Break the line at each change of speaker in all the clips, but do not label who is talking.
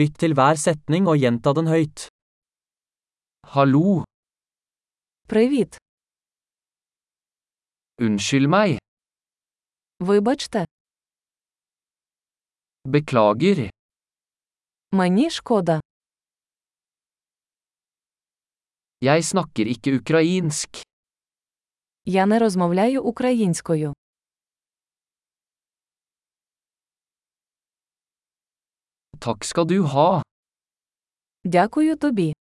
Lytt til hver setning og gjenta den høyt. Hallo,
Привіт.
unnskyld meg,
Вибачте,
beklager,
мені шкода.
jeg snakker ikke ukrainsk.
Я не розмовляю українською.
Takk skal du ha.
Дякую тобі.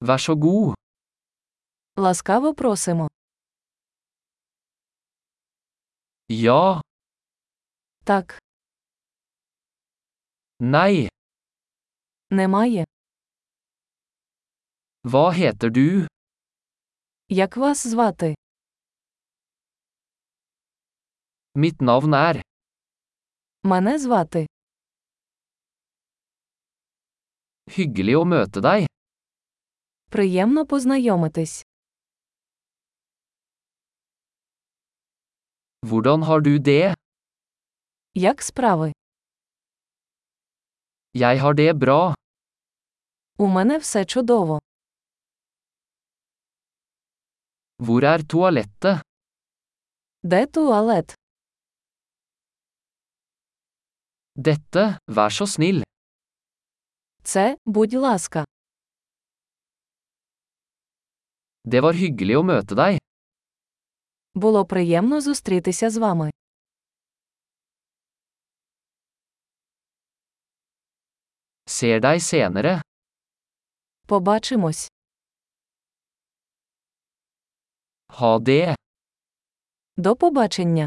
Vær så god.
Ласкаво просимо.
Ja,
Так,
nei,
немає.
hva heter du?
Як вас звати?
Mitt navn er.
Мене звати.
Hyggelig å møte deg.
Приємно познайомитись.
Hvordan har du det?
Як справи?
Jeg har det bra.
У мене все чудово.
Hvor er toalettet?
Де туалет?
Dette, vær så snill.
Це, будь ласка.
Det var hyggelig å møte deg.
Було приємно зустрітися з вами.
Ser deg senere.
Побачимось.
Ha det.
До побачення.